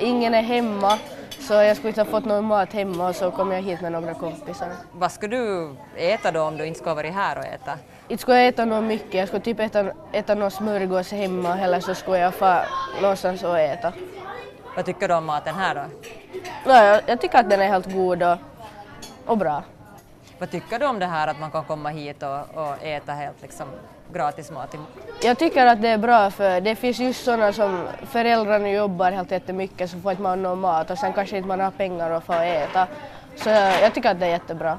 ingen är hemma. Så jag skulle inte ha fått någon mat hemma och så kom jag hit med några kompisar. Vad skulle du äta då om du inte skulle ha varit här och äta? Inte skulle jag äta något mycket, jag skulle typ äta, äta någon smörgås hemma eller så skulle jag få någonstans och äta. Vad tycker du om maten här då? Ja, jag, jag tycker att den är helt god och, och bra. Vad tycker du om det här att man kan komma hit och, och äta helt liksom gratis mat? i- Jag tycker att det är bra för det finns just sådana som föräldrarna jobbar helt jättemycket så får inte man någon mat och sen kanske inte man har pengar att få äta. Så jag tycker att det är jättebra.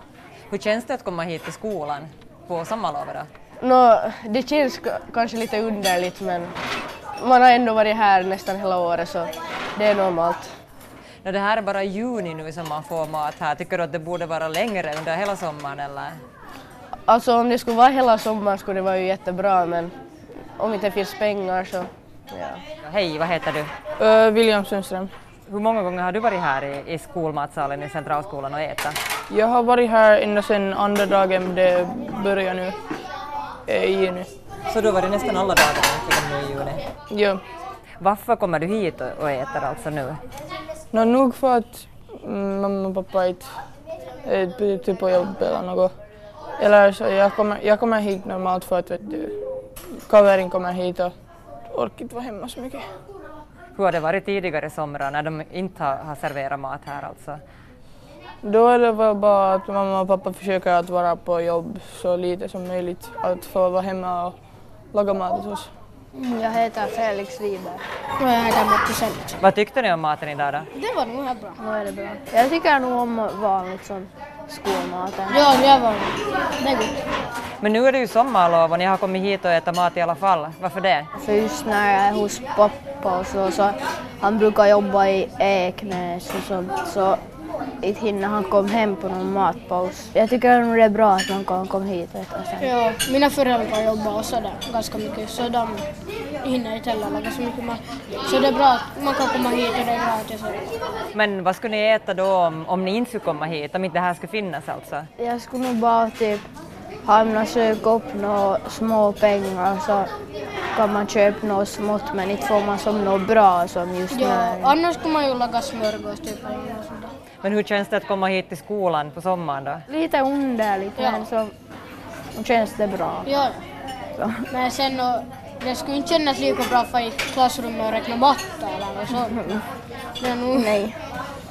Hur känns det att komma hit till skolan på sommarlovet då? Nå, det känns k- kanske lite underligt men man har ändå varit här nästan hela året så det är normalt. Nå, det här är bara i juni nu som man får mat här. Tycker du att det borde vara längre under hela sommaren eller? Alltså om det skulle vara hela sommaren skulle det vara ju jättebra men om inte finns pengar så ja. Hej, vad heter du? Uh, William Sundström. Hur många gånger har du varit här i, i skolmatsalen i Centralskolan och ätit? Jag har varit här ända sedan andra dagen det börjar nu, eh, i juni. Så du har varit nästan alla dagar egentligen nu i juni. Ja. Varför kommer du hit och, och äter alltså nu? Nå, nog för att mm, mamma och pappa inte är ty- typ på jobb eller något. Eller så jag kommer, jag kommer hit normalt för att vet du, kaverin kommer hit och orkar inte vara hemma så mycket. Hur har det varit tidigare somrar när de inte har, har serverat mat här alltså? Då är det väl bara att mamma och pappa försöker att vara på jobb så lite som möjligt. Att få vara hemma och laga mat åt oss. Jag heter Felix Wiberg. Och jag heter Matti Sennilsson. Vad tyckte ni om maten idag då? Det var nog helt bra. Vad är det bra? Jag tycker nog om vanligt som skolmaten. Ja, det var Det är gott. Men nu är det ju sommarlov och ni har kommit hit och ätit mat i alla fall. Varför det? För just när Alltså, jag är hos pappa och så, så han brukar jobba i Eknäs och sånt så inte hinner han kom hem på någon matpaus. Jag tycker nog det är bra att man kan komma hit och äta sen. Ja, mina föräldrar jobbar och sådär ganska mycket så de hinner inte heller laga så mycket mat. Så det är bra att man kan komma hit och det är gratis. Men vad skulle ni äta då om, om ni inte skulle komma hit? Om inte det här skulle finnas alltså? Jag skulle nog bara typ hamna och söka upp några små pengar så kan man köpa något smått men inte får man som något bra som just Ja, när. annars kan man ju laga smörgås typ eller något sånt där. Men hur känns det att komma hit till skolan på sommaren då? Lite underligt Ja. men så känns det bra. Ja, ja. Men sen och, det skulle inte kännas lika bra för i klassrummet och räkna matte eller något sånt. Det är nog... Nej.